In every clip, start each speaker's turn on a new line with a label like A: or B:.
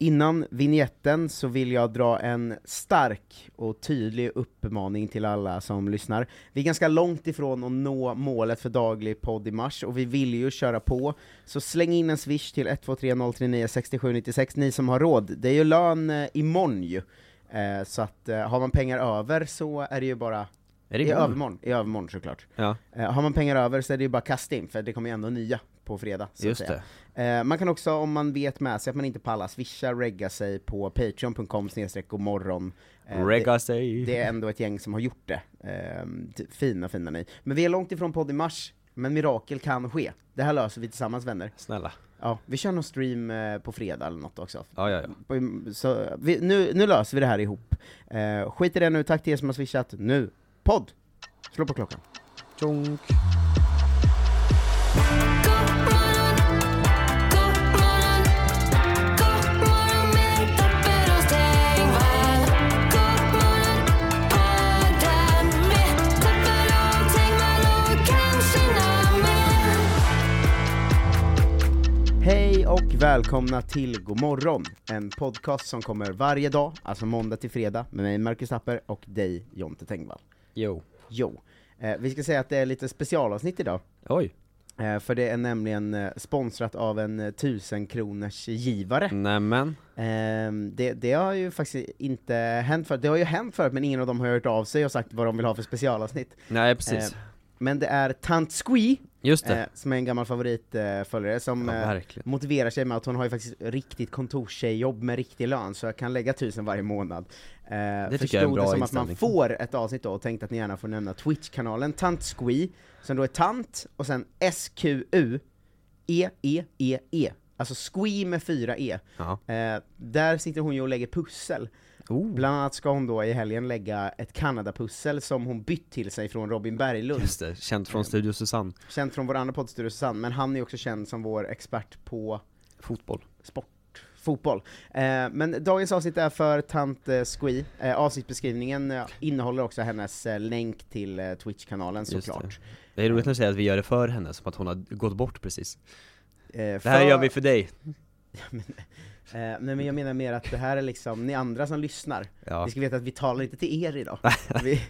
A: Innan vignetten så vill jag dra en stark och tydlig uppmaning till alla som lyssnar. Vi är ganska långt ifrån att nå målet för daglig podd i mars, och vi vill ju köra på. Så släng in en swish till 123039 6796, ni som har råd. Det är ju lön eh, imorgon ju, eh, så att eh, har man pengar över så är det ju bara
B: Är
A: i
B: imorgon?
A: övermorgon, i övermorgon såklart.
B: Ja,
A: Eh, har man pengar över så är det ju bara kasta in, för det kommer ju ändå nya på fredag. Så att
B: just
A: säga.
B: det.
A: Eh, man kan också, om man vet med sig att man inte pallar, swisha, regga sig på patreon.com snedstreck godmorgon. Eh, det,
B: Regga sig.
A: det är ändå ett gäng som har gjort det. Eh, t- fina, fina ni. Men vi är långt ifrån podd i mars, men mirakel kan ske. Det här löser vi tillsammans vänner.
B: Snälla.
A: Ja, vi kör någon stream eh, på fredag eller något också.
B: Ja, ja, ja.
A: På- Så vi, nu, nu löser vi det här ihop. Eh, skit i det nu, tack till er som har swishat. Nu, podd! Slå på klockan. Tjonk. Hej och välkomna till God morgon, en podcast som kommer varje dag, alltså måndag till fredag, med mig Marcus Tapper och dig Jonte Tengvall.
B: Jo.
A: Jo, eh, vi ska säga att det är lite specialavsnitt idag,
B: Oj.
A: eh, för det är nämligen eh, sponsrat av en eh, 1000 kronors givare.
B: Nämen.
A: Ehm, det, det har ju faktiskt inte hänt förut, det har ju hänt förut men ingen av dem har hört av sig och sagt vad de vill ha för specialavsnitt.
B: Nej, precis.
A: Eh, Men det är Tant Squee,
B: Just det.
A: eh, som är en gammal favoritföljare,
B: ja,
A: som eh,
B: verkligen.
A: motiverar sig med att hon har ju faktiskt riktigt kontorstjejjobb med riktig lön, så jag kan lägga tusen varje månad. Eh,
B: tycker
A: förstod
B: jag är en bra
A: det som att man
B: inställning.
A: får ett avsnitt då, och tänkte att ni gärna får nämna Twitch-kanalen Tant Squee, som då är Tant, och sen SQU, E E-E-E-E. Alltså Squee med fyra E.
B: Ja.
A: Eh, där sitter hon ju och lägger pussel.
B: Oh.
A: Bland annat ska hon då i helgen lägga ett Kanada-pussel som hon bytt till sig från Robin Berglund.
B: Just det. Känd från Studio Susanne.
A: Känd från vår andra poddstudio Susanne, men han är också känd som vår expert på
B: Fotboll.
A: sport, fotboll. Eh, men dagens avsnitt är för tant eh, Squee. Eh, avsnittsbeskrivningen eh, innehåller också hennes eh, länk till eh, Twitch-kanalen
B: Just det.
A: såklart.
B: Det är roligt när du säger att vi gör det för henne, som att hon har gått bort precis.
A: Eh,
B: Det här gör vi för dig.
A: Eh, nej men jag menar mer att det här är liksom, ni andra som lyssnar,
B: Ja.
A: Ni ska veta att vi talar inte till er idag. vi,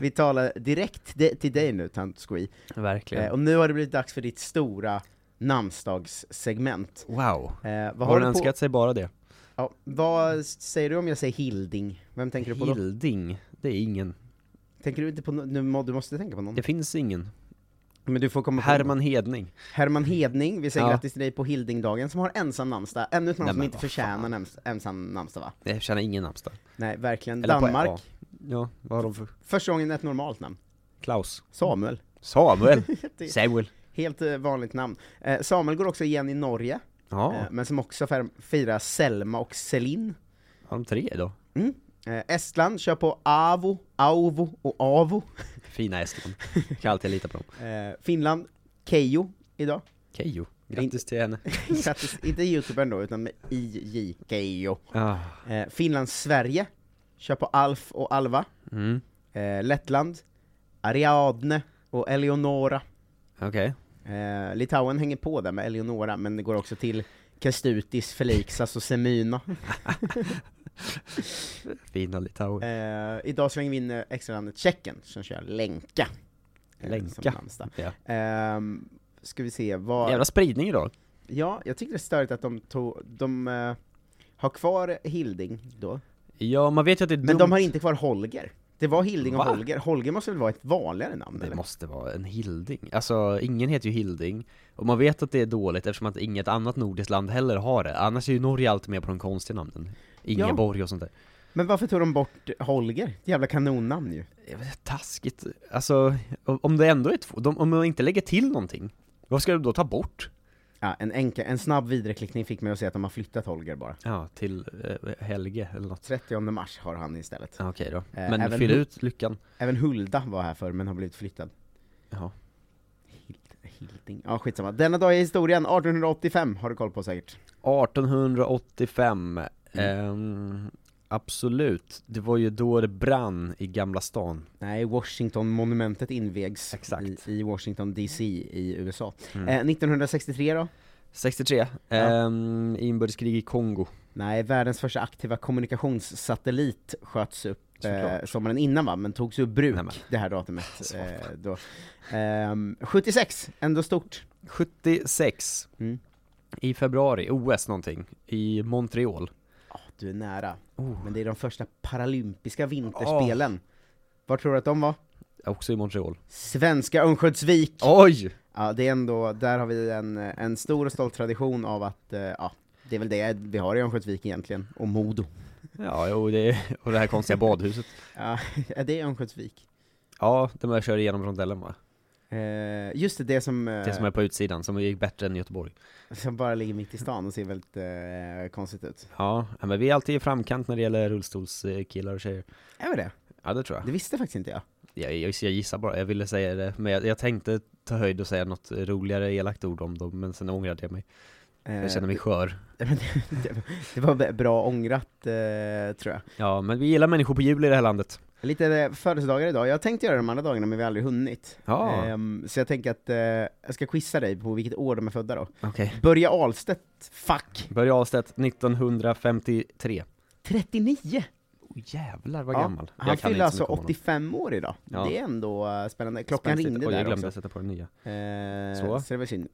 A: vi talar direkt de, till dig nu, tant Squee. Eh,
B: Verkligen.
A: och nu har det blivit dags för ditt stora namnsdagssegment. Eh,
B: Wow.
A: vad, har
B: Har
A: du
B: hon
A: på,
B: önskat sig bara det?
A: ja, vad säger du om jag säger Hilding? Vem tänker du på då?
B: Hilding. Det är ingen.
A: Tänker du inte på någon? Du, må- du måste tänka på någon.
B: Det finns ingen.
A: Men du får komma på
B: Herman Hedning.
A: Herman Hedning, vi säger
B: Ja.
A: grattis till dig på Hildingdagen som har ensam namnsdag. Ännu ett namn
B: Nej,
A: som
B: men
A: inte
B: vad
A: förtjänar
B: fan.
A: namns- ensam namnsdag va?
B: Jag känner ingen namnsdag.
A: Nej, verkligen.
B: Eller på-
A: Danmark,
B: ja. Ja, vad har de för?
A: första gången ett normalt namn.
B: Klaus.
A: Samuel.
B: Samuel.
A: Det-
B: Samuel.
A: Helt eh, vanligt namn. Eh, Samuel går också igen i Norge,
B: Ja,
A: eh, men som också fär- firar Selma och Selin.
B: har de tre då?
A: Eh, Estland kör på Avo, Auvo och Avo.
B: Fina Estland. Kan alltid lita på dem.
A: Eh, Finland, Keijo idag.
B: Keyyo. Grattis till henne.
A: Grattis, inte youtubern då, utan med IJ, Keijo.
B: Ah.
A: Eh, Finland, Sverige kör på Alf och Alva.
B: Mm.
A: Eh, Lettland, Ariadne och Eleonora.
B: Okej.
A: Eh, Litauen hänger på där med Eleonora, men det går också till Kastutis, Felixas och Semyna.
B: Fina Litauen.
A: Eh, idag slänger vi in eh, extralandet Tjeckien, som kör Lenka. Eh, som
B: Lenka.
A: namnsdag.
B: Ja.
A: Ehm, ska vi se, vad...
B: Jävla spridning idag.
A: Ja, jag tycker det är störigt att de tog, de, eh, har kvar Hilding då,
B: Ja, man vet ju att det är
A: men
B: dumt.
A: de har inte kvar Holger. Det var Hilding och
B: Va?
A: Holger, Holger måste väl vara ett vanligare namn
B: Det
A: eller?
B: måste vara en Hilding. Alltså, ingen heter ju Hilding. Och man vet att det är dåligt eftersom att inget annat nordiskt land heller har det. Annars är ju Norge alltid med på de konstiga namnen. Ingeborg och sånt där.
A: Men varför tog de bort Holger? Ett jävla kanonnamn ju.
B: Jag vet, Taskigt. Alltså, om om det ändå är två, de, om man inte lägger till någonting, vad ska du då ta bort?
A: Ja, en, enkel, en snabb videreklickning fick mig att säga att de har flyttat Holger bara.
B: Ja, till eh, Helge eller något.
A: 30 mars har han istället.
B: Ja, Okej då.
A: Eh,
B: Men
A: även
B: fyll
A: Hu-
B: ut lyckan.
A: Även Hulda var här förr men har blivit flyttad.
B: Ja.
A: Hild, Hilding, ja skitsamma. Denna dag i historien, 1885 har du koll på säkert.
B: 1885. Ehm, absolut. Det var ju då det brann i Gamla stan.
A: Nej, Washington-monumentet invigs
B: Exakt.
A: I, i Washington DC i USA. Eh, 1963 då?
B: 63. Ehm, inbördeskrig i Kongo.
A: Nej, världens första aktiva kommunikationssatellit sköts upp eh,
B: Såklart.
A: sommaren innan va, men togs ur bruk
B: Nämen.
A: det här datumet. Eh, då. Ehm, 76, ändå stort.
B: 76.
A: Mm.
B: I februari, OS någonting. I Montreal.
A: Ja, du är nära.
B: Oh.
A: Men det är de första paralympiska vinterspelen. Var tror du att de var?
B: Också i Montreal.
A: Svenska Örnsköldsvik!
B: Oj!
A: Ja, det är ändå, där har vi en, en stor och stolt tradition av att, eh, ja, det är väl det vi har i Örnsköldsvik egentligen, och Modo.
B: Ja, jo, det, och det här konstiga badhuset.
A: Ja, är det är Örnsköldsvik.
B: Ja, där man kör igenom rondellen va?
A: Eh, just det, det som, eh,
B: Det som är på utsidan, som gick bättre än Göteborg.
A: som bara ligger mitt i stan och ser väldigt eh, konstigt ut.
B: Ja, ja, men vi är alltid i framkant när det gäller rullstolskillar och tjejer.
A: Är det
B: Ja, det tror jag.
A: Det visste faktiskt inte jag.
B: Jag, jag, jag gissar bara, jag ville säga det, men jag, jag tänkte ta höjd och säga något roligare elakt ord om dem, men sen ångrade jag mig.
A: Eh,
B: Jag känner mig skör.
A: det, men det- det, det var bra ångrat, eh, tror jag.
B: Ja, men vi gillar människor på jul i det här landet.
A: Lite eh, födelsedagar idag, jag tänkte göra de andra dagarna men vi har aldrig hunnit.
B: Ja.
A: Ehm, så jag tänker att eh, jag ska quizza dig på vilket år de är födda då.
B: Okej.
A: Börje Ahlstedt, fuck!
B: Börje Ahlstedt, 1953.
A: 39!
B: Oh, jävlar vad
A: Ja,
B: gammal.
A: Han
B: kan
A: fyller
B: inte
A: alltså
B: så mycket om honom.
A: 85 år idag.
B: Ja.
A: Det är ändå eh, spännande. Klockan
B: Spänstigt.
A: ringde
B: Oj,
A: där
B: jag glömde
A: också.
B: sätta på den nya.
A: Eh, så.
B: Så.
A: det var synd.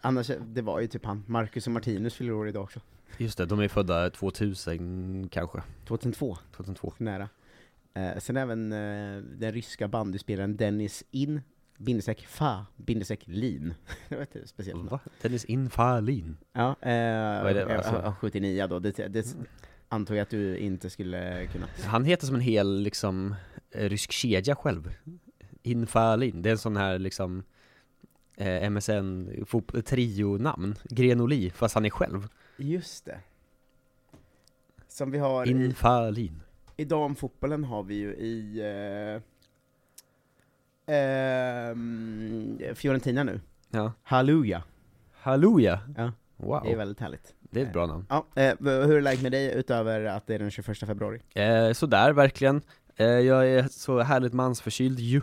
A: Annars, det var ju typ han, Marcus och Martinus fyller år idag också.
B: Just det, de är födda 2000 kanske,
A: 2002,
B: 2002.
A: nära. Eh, sen även eh, den ryska bandyspelaren Dennis In, bindestreck Fa, bindestreck Lin. det var ett speciellt namn.
B: Va? Dennis Infalin?
A: Ja, eh,
B: Vad är det? Alltså-
A: eh, 79 då, det, det antog jag att du inte skulle kunna.
B: Han heter som en hel liksom eh, rysk kedja själv. Infalin, det är en sån här liksom eh, MSN fot- eh, trio-namn, Grenoli, fast han är själv.
A: Just det. Som vi har i-
B: Infalin.
A: I damfotbollen har vi ju i eh, ehm, Fiorentina nu,
B: Ja.
A: Halleluja,
B: Halleluja!
A: Ja.
B: Wow,
A: det är väldigt härligt.
B: ett bra namn.
A: Ja, eh, v- hur är läget med dig utöver att det är den 21 februari?
B: Eh, sådär, verkligen. Eh, jag är så härligt mansförkyld ju,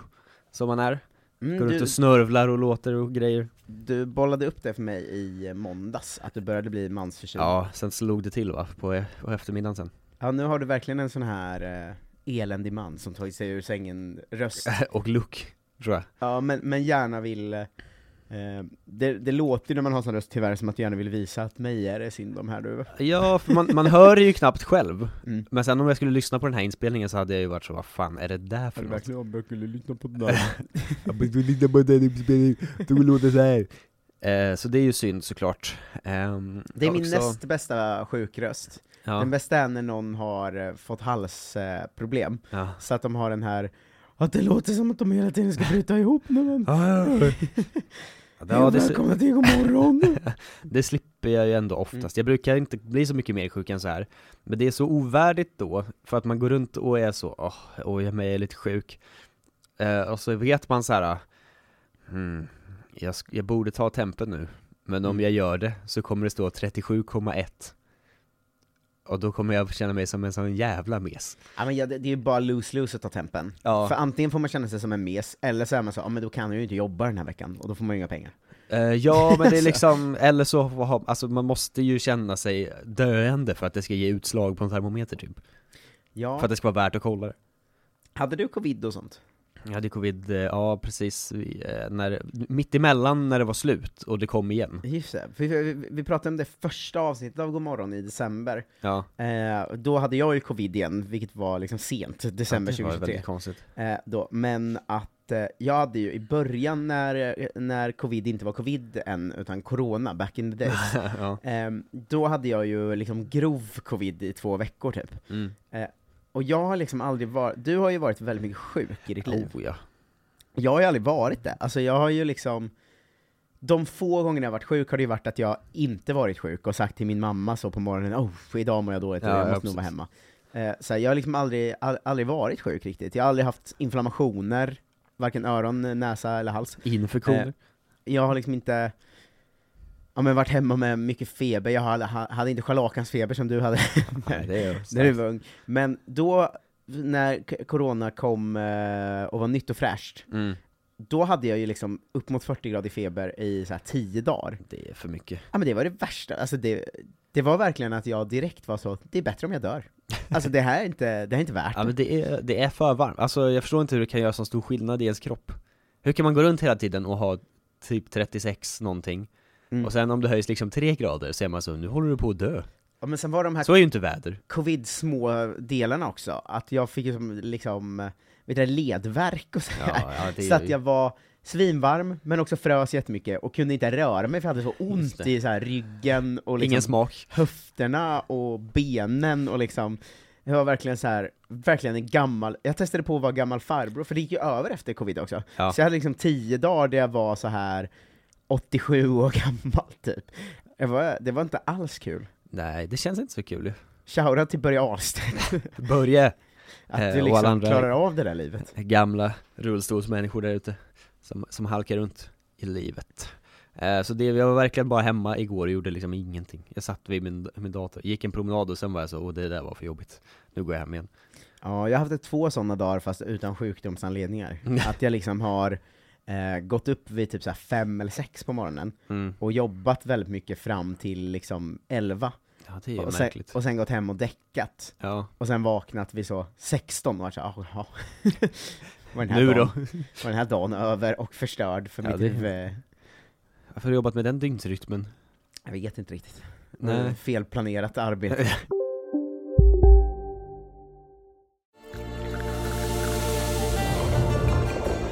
B: som man är.
A: Mm,
B: Går runt
A: du,
B: och snörvlar och låter och grejer.
A: du bollade upp det för mig i eh, måndags, att du började bli mansförkyld.
B: Ja, sen slog det till va, på, på eftermiddagen sen.
A: Ja, nu har du verkligen en sån här eh, eländig man som tagit sig ur sängen röst.
B: och look, tror jag.
A: Ja, men, men gärna vill eh, det, det låter ju när man har sån röst tyvärr som att du gärna vill visa att mig är det synd om här du.
B: Ja, för man, man hör det ju knappt själv.
A: Mm.
B: Men sen om jag skulle lyssna på den här inspelningen så hade jag ju varit så, vad fan är det där för något?
A: om jag skulle lyssna på det där?
B: Eh, så det är ju synd såklart. Ehm,
A: Det är
B: jag
A: min
B: också-
A: näst bästa sjukröst.
B: Ja,
A: Den bästa är när någon har eh, fått halsproblem,
B: ja.
A: så att de har den här att det låter som att de hela tiden ska bryta ihop nu men
B: Ja,
A: Hej,
B: det, s-
A: välkomna till imorgon!
B: det slipper jag ju ändå oftast. Jag brukar inte bli så mycket mer sjuk än så här. Men det är så ovärdigt då, för att man går runt och är så, åh, oj, jag är lite sjuk. Eh, och så vet man så här, hmm, jag, sk- jag borde ta tempen nu, men om jag gör det så kommer det stå 37,1. Och då kommer jag känna mig som en sån jävla mes.
A: ja, men ja, det, det är ju bara loose-loose att ta tempen.
B: Ja.
A: För antingen får man känna sig som en mes, eller så är man så ja men då kan jag ju inte jobba den här veckan, och då får man ju inga pengar.
B: Eh, ja, men det är liksom, eller så, har- alltså man måste ju känna sig döende för att det ska ge utslag på en termometer typ.
A: Ja,
B: För att det ska vara värt att kolla det.
A: hade du covid och sånt?
B: Jag hade covid, eh, ja precis, eh, när, mitt emellan när det var slut och det kom igen.
A: Just det. Vi, vi, vi pratade om det första avsnittet av Godmorgon i december.
B: Ja,
A: Eh, då hade jag ju covid igen, vilket var liksom sent, december
B: det var
A: 2023.
B: väldigt konstigt.
A: Eh, då. Men att eh, jag hade ju i början när, när covid inte var covid än, utan corona, back in the days,
B: ja.
A: eh, då hade jag ju liksom grov covid i två veckor typ.
B: Mm.
A: Eh, och jag har liksom aldrig varit, du har ju varit väldigt mycket sjuk i ditt liv.
B: Oh, ja.
A: Jag har ju aldrig varit det. Alltså jag har ju liksom, de få gångerna jag har varit sjuk har det ju varit att jag inte varit sjuk och sagt till min mamma så på morgonen, oh, idag mår jag dåligt och
B: Ja,
A: jag
B: ja,
A: måste nog vara
B: precis.
A: hemma. Eh, så här, jag har liksom aldrig, all, aldrig varit sjuk riktigt. Jag har aldrig haft inflammationer, varken öron, näsa eller hals.
B: Infektioner.
A: Eh, Jag har liksom inte, ja men varit hemma med mycket feber, jag hade, ha- hade inte scharlakansfeber som du hade
B: Nej, det är ju
A: när du var ung. Men då, när k- corona kom eh, och var nytt och fräscht,
B: mm.
A: då hade jag ju liksom upp mot 40 grader feber i så här 10 dagar.
B: Det är för mycket.
A: Ja men det var det värsta, alltså det, det var verkligen att jag direkt var så, det är bättre om jag dör. Alltså det här är inte, det här är inte värt
B: Ja,
A: det.
B: men det, är, det är för varmt. Alltså jag förstår inte hur det kan göra så stor skillnad i ens kropp. Hur kan man gå runt hela tiden och ha typ 36 någonting,
A: Mm.
B: och sen om det höjs liksom 3 grader så är man så, nu håller du på att dö.
A: Ja, men sen var de här
B: Så är ju inte väder.
A: covid-små delarna också, att jag fick liksom, liksom vet du, ledvärk och så, här.
B: ja, det är
A: så att
B: ju-
A: jag var svinvarm, men också frös jättemycket och kunde inte röra mig för jag hade så
B: Just
A: ont
B: det.
A: i så här ryggen och
B: Ingen
A: liksom
B: smak.
A: höfterna och benen och liksom jag var verkligen så här, verkligen en gammal, jag testade på att vara gammal farbror, för det gick ju över efter covid också.
B: Ja.
A: Så jag hade liksom tio dagar där jag var så här 87 år gammal typ. Jag var, det var inte alls kul.
B: Nej, det känns inte så kul ju.
A: Shoutout till Börje Ahlstedt,
B: Börje!
A: att
B: Eh,
A: du
B: och
A: liksom
B: alla andra-
A: klarar av det där livet.
B: gamla rullstolsmänniskor där ute som, som halkar runt i livet. Eh, så det, jag var verkligen bara hemma igår och gjorde liksom ingenting. Jag satt vid min, min dator, gick en promenad och sen var jag så, åh det där var för jobbigt. Nu går jag hem igen.
A: Ja, jag har haft två sådana dagar fast utan sjukdomsanledningar. att jag liksom har eh, gått upp vid typ så här fem eller sex på morgonen
B: Mm.
A: och jobbat väldigt mycket fram till liksom elva.
B: Ja det är ju
A: och, sen,
B: märkligt.
A: och sen gått hem och däckat,
B: Ja,
A: och sen vaknat vid så 16 och varit såhär, jaha. Var den här
B: nu då?
A: dagen- Var den här dagen över och förstörd för
B: Ja,
A: mitt
B: det-
A: huvud.
B: Varför har du jobbat med den dygnsrytmen?
A: Jag vet inte riktigt. Eh,
B: Nej.
A: Felplanerat arbete.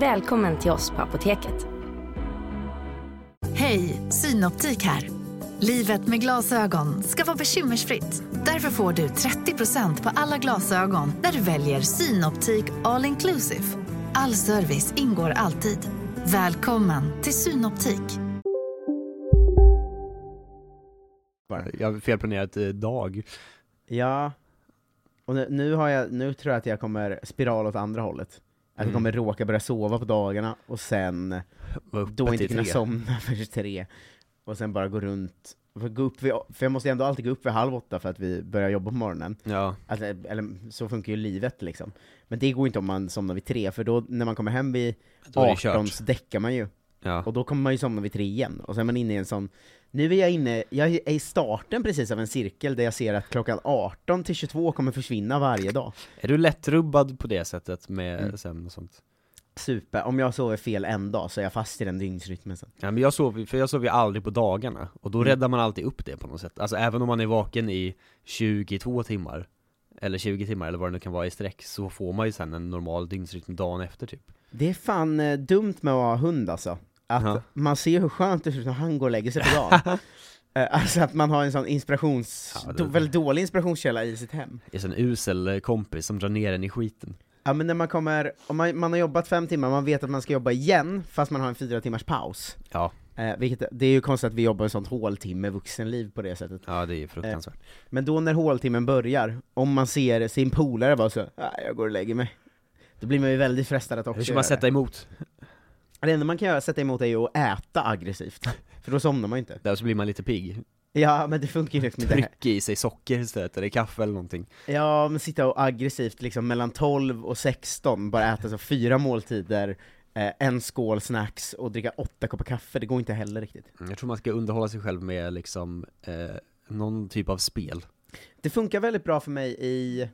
C: Välkommen till oss på Apoteket.
D: Hej, Synoptik här. Livet med glasögon ska vara bekymmersfritt. Därför får du 30% på alla glasögon när du väljer Synoptik All Inclusive. All service ingår alltid. Välkommen till Synoptik.
B: Jag har felplanerat eh, dag.
A: ja. Och nu, nu, har jag, nu tror jag att jag kommer spiral åt andra hållet. Att
B: Mm.
A: jag kommer råka börja sova på dagarna och sen
B: Var uppe
A: då inte
B: till
A: kunna
B: tre.
A: somna förrän tre. Och sen bara gå runt. För, gå upp vid, för jag måste ju ändå alltid gå upp vid halv åtta för att vi börjar jobba på morgonen.
B: Ja,
A: Alltså, eller så funkar ju livet liksom. Men det går inte om man somnar vid tre, för då när man kommer hem vid
B: Då är det
A: 18
B: kört.
A: så däckar man ju.
B: ja.
A: Och då kommer man ju somna vid tre igen. Och sen är man inne i en sån, nu är jag inne, jag är i starten precis av en cirkel där jag ser att klockan 18 till 22 kommer försvinna varje dag.
B: Är du lättrubbad på det sättet med
A: Mm.
B: sömn och sånt?
A: Super, om jag sover fel en dag så är jag fast i den dygnsrytmen sen.
B: Ja, men jag sov, ju- för jag sov ju aldrig på dagarna, och då
A: Mm.
B: räddar man alltid upp det på något sätt Alltså även om man är vaken i 22 timmar Eller 20 timmar eller vad det nu kan vara i sträck Så får man ju sen en normal dygnsrytm dagen efter typ
A: Det är fan eh, dumt med att ha hund alltså. Att
B: Ja.
A: man ser hur skönt det ser ut när han går och lägger sig på dagen. Eh, alltså att man har en sån inspirations,
B: Ja, det-
A: då, väldigt dålig inspirationskälla i sitt hem.
B: Det är så en usel eh, kompis som drar ner en i skiten
A: Ja men när man kommer, om man, man har jobbat fem timmar, man vet att man ska jobba igen fast man har en fyra timmars paus.
B: Ja,
A: Eh, vilket, det är ju konstigt att vi jobbar en sånt håltimme vuxenliv på det sättet.
B: ja det är fruktansvärt
A: Men då när håltimmen börjar, om man ser sin polare vara så "Ah, jag går och lägger mig. Då blir man ju väldigt frestad att också
B: Hur ska
A: göra
B: man sätta
A: det.
B: emot?
A: Det enda man kan göra, sätta emot är ju att äta aggressivt, för då somnar man ju inte.
B: Där så blir man lite pigg.
A: Ja, men det funkar ju liksom inte. här.
B: Trycka i sig socker istället, eller kaffe eller någonting.
A: Ja, men sitta och aggressivt liksom mellan 12 och 16, bara äta så fyra måltider, eh, en skål snacks och dricka åtta koppar kaffe, det går inte heller riktigt.
B: Mm, Jag tror man ska underhålla sig själv med liksom eh, någon typ av spel.
A: Det funkar väldigt bra för mig i,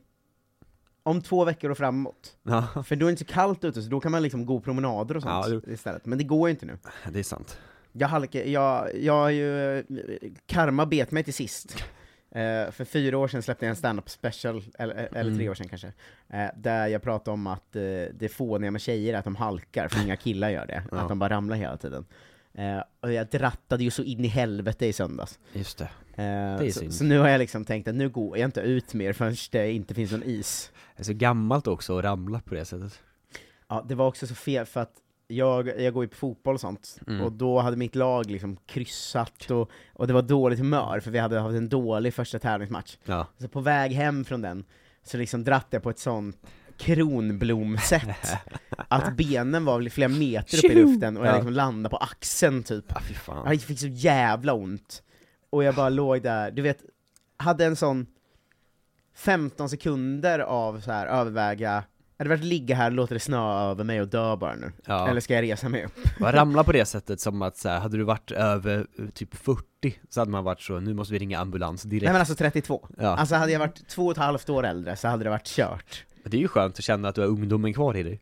A: om två veckor och framåt.
B: Ja,
A: För då är det inte så kallt ute, så då kan man liksom gå promenader och sånt
B: Ja,
A: istället. Men det går ju inte nu.
B: det är sant.
A: Jag halkar, jag, jag har ju, karma bet mig till sist. Eh, för fyra år sedan släppte jag en stand-up special, eller, eller
B: Mm.
A: tre år sedan kanske, eh, där jag pratade om att eh, det fåniga med tjejer är att de halkar, för inga killar gör det.
B: Ja.
A: Att de bara ramlar hela tiden. Eh, och jag drattade ju så in i helvete i söndags.
B: Just det.
A: Eh,
B: är
A: så,
B: synd.
A: så nu har jag liksom tänkt att nu går jag inte ut mer förrän det inte finns någon is.
B: Det är så gammalt också att ramla på det sättet.
A: Ja, det var också så fel för att jag, jag går ju på fotboll och sånt, och då hade mitt lag liksom kryssat och, och det var dåligt humör för vi hade haft en dålig första tävlingsmatch.
B: Ja.
A: Så på väg hem från den, så liksom dratt jag på ett sånt kronblomsätt, att benen var väl flera meter upp i luften och jag
B: Ja.
A: liksom landade på axeln typ.
B: Ah, fy fan.
A: Jag fick så jävla ont. Och jag bara låg där, du vet, hade en sån 15 sekunder av så här överväga, hade det varit ligga här, låter det snöa över mig och dö bara nu?
B: Ja.
A: Eller ska jag resa mig upp?
B: Bara ramla på det sättet som att så här, hade du varit över eh, typ 40 så hade man varit så, nu måste vi ringa ambulans direkt.
A: Nej men alltså 32.
B: Ja.
A: Alltså hade jag varit två och ett halvt år äldre så hade det varit kört.
B: Det är ju skönt att känna att du har ungdomen kvar i dig.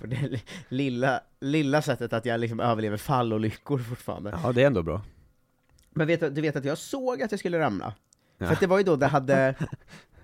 A: På det li- lilla, lilla sättet att jag liksom överlever fallolyckor fortfarande.
B: Ja, det är ändå bra.
A: Men vet, du- du vet att jag såg att jag skulle ramla?
B: Ja.
A: För att det var ju då det hade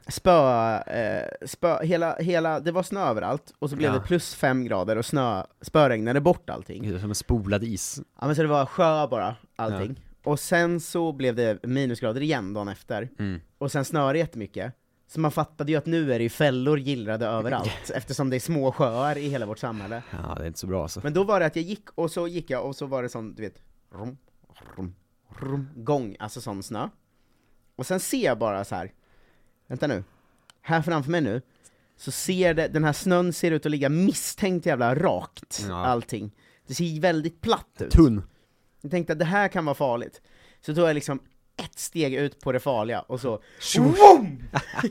A: spö, eh, spö hela, hela, det var snö överallt, och så blev
B: Ja. Mm.
A: det plus fem grader och snö, spöregnade bort allting.
B: Gud, det är som en spolad is.
A: Ja men så det var sjö bara, allting. Och sen så blev det minusgrader igen dagen efter,
B: Mm.
A: och sen snöade det jättemycket. Så man fattade ju att nu är det ju fällor gillrade överallt, eftersom det är små sjöar i hela vårt samhälle.
B: Ja, det är inte så bra alltså.
A: Men då var det att jag gick, och så gick jag, och så var det sån, du vet, rum, rum, rum, gång, alltså sån snö. Och sen ser jag bara så här. vänta nu, här framför mig nu, så ser det, den här snön ser ut att ligga misstänkt jävla rakt,
B: Ja.
A: allting. Det ser väldigt platt ut.
B: Tunn.
A: Jag tänkte att det här kan vara farligt. Så tog jag liksom ett steg ut på det farliga, och så Vroom!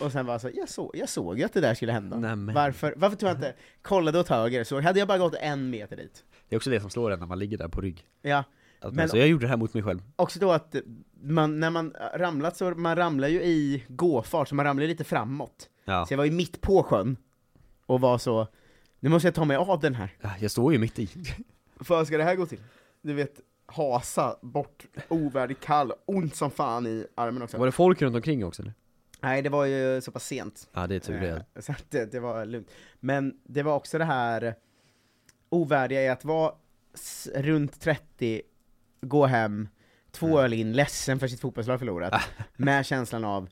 A: Och sen bara så, jag, så, jag såg ju att det där skulle hända.
B: Nej, men.
A: Varför, varför tog jag inte, kollade åt höger, så hade jag bara gått en meter dit.
B: Det är också det som slår en när man ligger där på rygg.
A: Ja.
B: Att
A: Men-
B: men... Så jag gjorde det här mot mig själv.
A: Också då att man, när man ramlat så, man ramlar ju i gåfart, så man ramlar ju lite framåt.
B: Ja.
A: Så jag var ju mitt på sjön, och var så, nu måste jag ta mig av den här.
B: Ja, Jag står ju mitt i.
A: För ska det här gå till? Du vet, hasa, bort, ovärdig kall, ont som fan i armen också.
B: Var det folk runt omkring också? Eller?
A: Nej, det var ju så pass sent.
B: Ja, det är tur det.
A: Eh, Så att det, det var lugnt. Men det var också det här ovärdiga i att vara s- runt 30, gå hem,
B: Mm.
A: två öl in, ledsen för sitt fotbollslag förlorat, med känslan av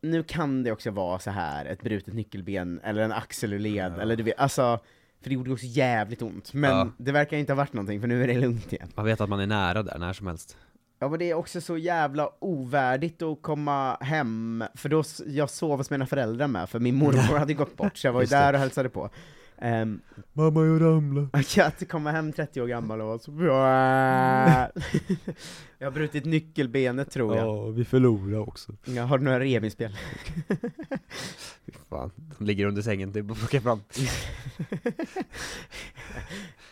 A: nu kan det också vara så här ett brutet nyckelben, eller en axel ur led, eller du vet, alltså, för det gjorde också jävligt ont. Men
B: Ja.
A: det verkar inte ha varit någonting, för nu är det lugnt igen.
B: Man vet att man är nära där när som helst.
A: Ja men det är också så jävla ovärdigt att komma hem, för då s- jag sov hos mina föräldrar med, för min mormor hade gått bort, så jag var ju
B: Just det.
A: där och hälsade på. Ehm,
B: Mamma, jag ramlade.
A: att komma hem 30 år gammal och vara så Jag har brutit nyckelbenet tror jag.
B: vi förlorade också.
A: Jag har några revinspel.
B: Fan, de ligger under sängen, det är bara att plocka fram.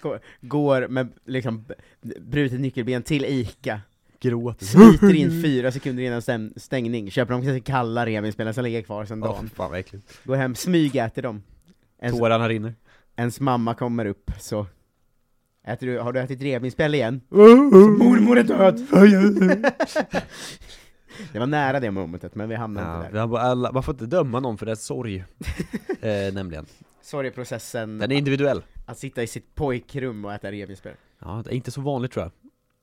A: Går- Går med liksom b- brutet nyckelben till ICA,
B: Gråter.
A: sliter in fyra sekunder innan stäm- stängning, köper de kanske kalla revinspelen som ligger kvar sedan
B: Ja,
A: dagen.
B: fan vad äckligt.
A: Går hem, smygäter dem. En-
B: Tårarna rinner.
A: ens mamma kommer upp så Äter du, har du ätit revbensspjäll igen? Så mormor är död! det var nära det momentet, men vi hamnade
B: Ja,
A: inte där.
B: vi har bara alla, man får inte döma någon för dess sorg. eh, nämligen.
A: Sorgeprocessen,
B: Den är individuell.
A: att sitta i sitt pojkrum och äta revbensspjäll.
B: Ja, det är inte så vanligt tror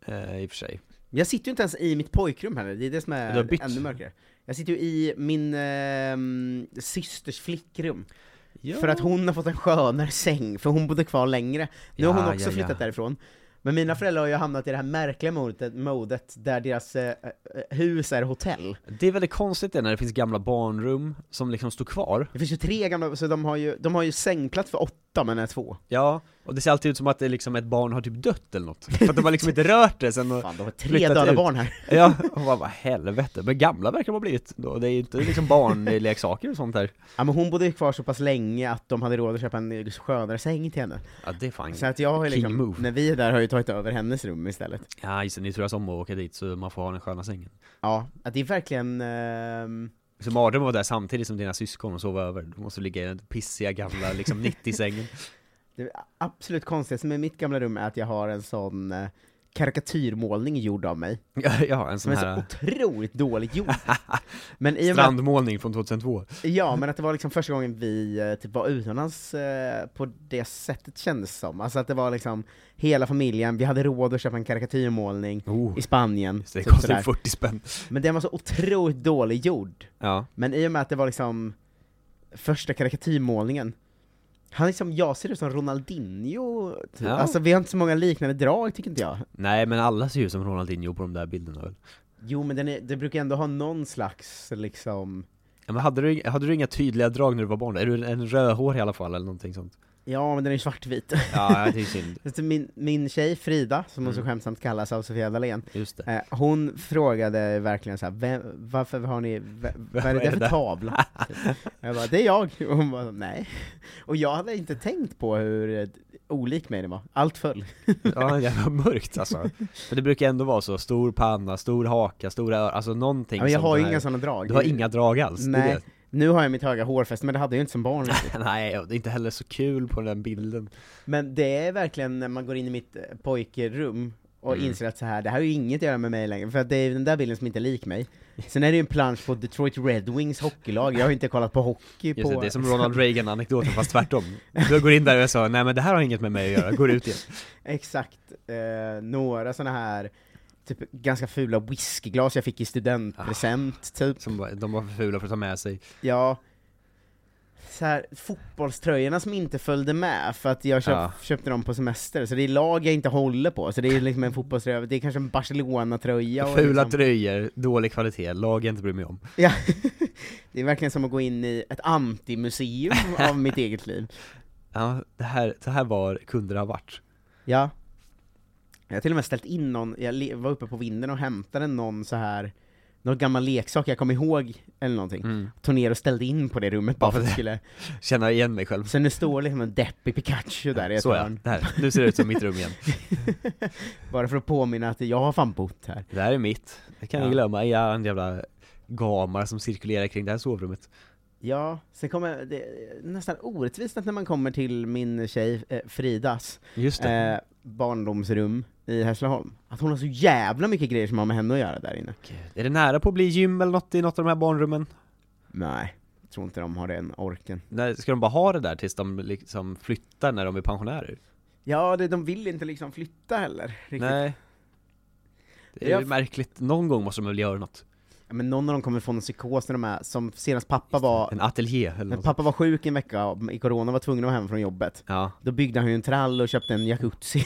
B: jag. Eh, I och för sig.
A: Men jag sitter ju inte ens i mitt pojkrum heller, det är det som
B: Du har
A: är
B: bytt.
A: ännu mörkare. Jag sitter ju i min ehm, systers flickrum, för att hon har fått en skönare säng, för hon bodde kvar längre. Nu har
B: Ja,
A: hon också
B: ja, ja.
A: flyttat därifrån. Men mina föräldrar har ju hamnat i det här märkliga modet, modet där deras eh, eh, hus är hotell.
B: Det är väldigt konstigt det när det finns gamla barnrum som liksom står kvar.
A: Det finns ju tre gamla, så de har ju, de har ju sängplats för åtta men är två.
B: Ja, och det ser alltid ut som att det är liksom ett barn har typ dött eller något. För att de har liksom inte rört det sen och,
A: Fan, de har tre
B: Flyttat
A: döda
B: ut.
A: barn här.
B: Ja, och bara, vad helvete. Men gamla verkar de ha blivit då. Det är ju inte liksom barnleksaker och sånt här.
A: Ja, men hon bodde ju kvar så pass länge att de hade råd att köpa en skönare säng till henne.
B: Ja, det är fan
A: Så att jag har ju
B: King
A: liksom,
B: move.
A: när vi är där har jag ju tagit över hennes rum istället.
B: Ja, just det, ni turas om att åka dit så man får ha den sköna sängen.
A: Ja, att det är verkligen... ehm,
B: Så mardröm att vara där samtidigt som dina syskon och sova över. Du måste ligga i den pissiga gamla liksom 90-sängen.
A: Det absolut konstigaste med mitt gamla rum är att jag har en sån eh, karikatyrmålning gjord av mig,
B: Ja, ja, en
A: som är
B: sån
A: så
B: här eh.
A: otroligt dåligt gjord. Men i och med att,
B: strandmålning från 2002.
A: ja, men att det var liksom första gången vi eh, typ var utomlands eh, på det sättet kändes som. Alltså att det var liksom hela familjen, vi hade råd att köpa en karikatyrmålning
B: Oh.
A: i Spanien.
B: Så det
A: typ
B: kostar
A: sådär.
B: 40 spänn.
A: Men den var så otroligt dålig gjord.
B: Ja.
A: Men i och med att det var liksom första karikatyrmålningen, han liksom, jag ser ut som Ronaldinho, typ.
B: Ja.
A: alltså vi har inte så många liknande drag tycker inte jag.
B: Nej men alla ser ju ut som Ronaldinho på de där bilderna väl?
A: Jo men den, är, den brukar ändå ha någon slags liksom,
B: Ja, men hade du, hade du inga tydliga drag när du var barn? Är du en rödhårig i alla fall eller någonting sånt?
A: ja men den är ju svartvit.
B: Ja, det är ju synd.
A: Så min, min tjej Frida, som hon så
B: Mm.
A: skämtsamt kallas av Sofia Dalén,
B: Just det.
A: eh, hon frågade verkligen så här, "Vem- varför har ni, v- vad är det där för tavla? Typ. jag bara, det är jag! Och hon bara, nej. Och jag hade inte tänkt på hur eh, olik mig den var, allt föll.
B: Ja, jävla mörkt alltså. För det brukar ändå vara så, stor panna, stor haka, stora öron, alltså någonting
A: Ja, men jag
B: som
A: har
B: den
A: ju
B: här-
A: inga sådana drag.
B: Du har inga drag alls? det är
A: Nej, nu har jag mitt höga hårfäste, men det hade jag ju inte som barn riktigt.
B: det. Nej, och det är inte heller så kul på den bilden.
A: Men det är verkligen när man går in i mitt eh, pojkrum och
B: Mm.
A: inser att så här, det här har ju inget att göra med mig längre, för att det är den där bilden som inte är lik mig. Sen är det ju en plansch på Detroit Red Wings hockeylag, jag har ju inte kollat på hockey
B: Just
A: på...
B: det, det är som Ronald Reagan-anekdoten fast tvärtom. Du går in där och sa nej men det här har inget med mig att göra, går ut igen.
A: Exakt, eh, några sådana här typ ganska fula whiskyglas jag fick i studentpresent, typ.
B: Som bara, de var för fula för att ta med sig.
A: Ja, så här, fotbollströjorna som inte följde med för att jag köp,
B: Ja.
A: köpte dem på semester, så det är lag jag inte håller på, så det är liksom en fotbollströja, det är kanske en Barcelona-tröja och
B: fula
A: liksom,
B: tröjor, dålig kvalitet, lag jag inte bryr mig om.
A: ja. Det är verkligen som att gå in i ett antimuseum av mitt eget liv.
B: Ja, det här, det här var, kunde det ha varit.
A: Ja. Jag har till och med ställt in någon, jag le- var uppe på vinden och hämtade någon så här någon gammal leksak jag kom ihåg, eller någonting, tog ner och ställde in på det rummet bara
B: Bara
A: för att
B: för
A: det skulle,
B: Känna igen mig själv.
A: så nu står liksom en deppig Pikachu där i ett
B: Så ja,
A: hörn.
B: där. nu ser det ut som mitt rum igen.
A: Bara för att påminna att jag har fan bott här.
B: Det här är mitt, det kan
A: Ja.
B: jag glömma, jag är en jävla gamar som cirkulerar kring det här sovrummet.
A: Ja, sen kommer det är nästan orättvist att när man kommer till min tjej eh, Fridas
B: Just det.
A: eh, barndomsrum i Hässleholm, att hon har så jävla mycket grejer som har med henne att göra där inne.
B: Gud. Är det nära på att bli gym eller något i något av de här barnrummen?
A: Nej, jag tror inte de har den orken.
B: Nej, ska de bara ha det där tills de liksom flyttar när de är pensionärer?
A: Ja, det, de vill inte liksom flytta heller riktigt.
B: Nej. Det är
A: Jag-
B: ju märkligt, någon gång måste de väl göra något?
A: Ja, Men någon av dem kommer få någon psykos när de är, som senast pappa var,
B: En ateljé eller
A: när
B: något?
A: pappa var sjuk en vecka och i corona var tvungen att vara hem från jobbet.
B: Ja,
A: Då byggde han ju en trall och köpte en jacuzzi.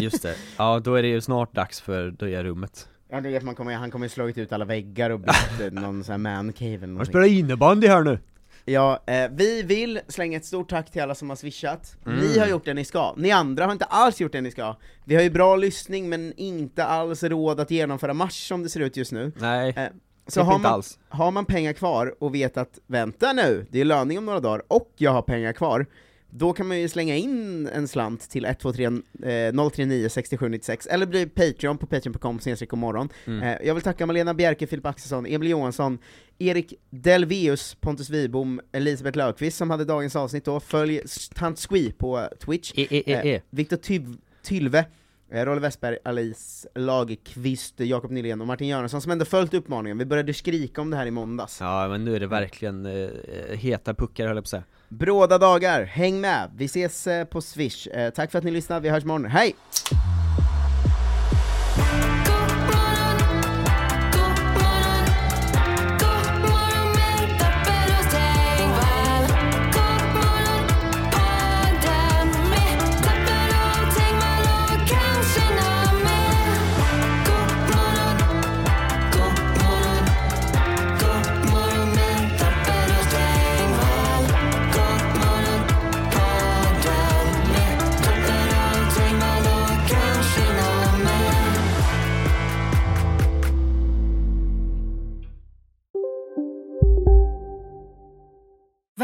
B: just det. Ja, då är det ju snart dags för det här rummet.
A: Ja du vet, man kommer, han kommer ju slagit ut alla väggar och byggt eh, någon sån här mancave eller
B: Man
A: någonting.
B: spelar innebandy här nu!
A: Ja, eh, vi vill slänga ett stort tack till alla som har swishat.
B: Mm.
A: Ni har gjort det ni ska, ni andra har inte alls gjort det ni ska. Vi har ju bra lyssning men inte alls råd att genomföra match som det ser ut just nu.
B: Nej,
A: Eh,
B: så
A: har
B: Typ inte
A: man,
B: alls.
A: har man pengar kvar och vet att vänta nu, det är löning om några dagar och jag har pengar kvar, då kan man ju slänga in en slant till 123 eh, 039 6796 eller bli Patreon på patreon.com snedstreck imorgon. Eh, jag vill tacka Malena Bjerke, Filip Axelsson, Emil Johansson, Erik Delvius, Pontus Wibom, Elisabeth Löfqvist som hade dagens avsnitt då, följ s- Tant Squee på Twitch,
B: E, e, e, e.
A: eh, Viktor Tyv- Tylve, eh, Rolle Westberg, Alice Lagerqvist, eh, Jakob Nylén och Martin Göransson som ändå följt uppmaningen. Vi började skrika om det här i måndags.
B: Ja, men nu är det
A: Mm.
B: verkligen eh, heta puckar höll jag på att säga.
A: Bråda dagar, häng med! Vi ses eh, på Swish. Eh, tack för att ni lyssnade, vi hörs imorgon. Hej!
E: Kanske när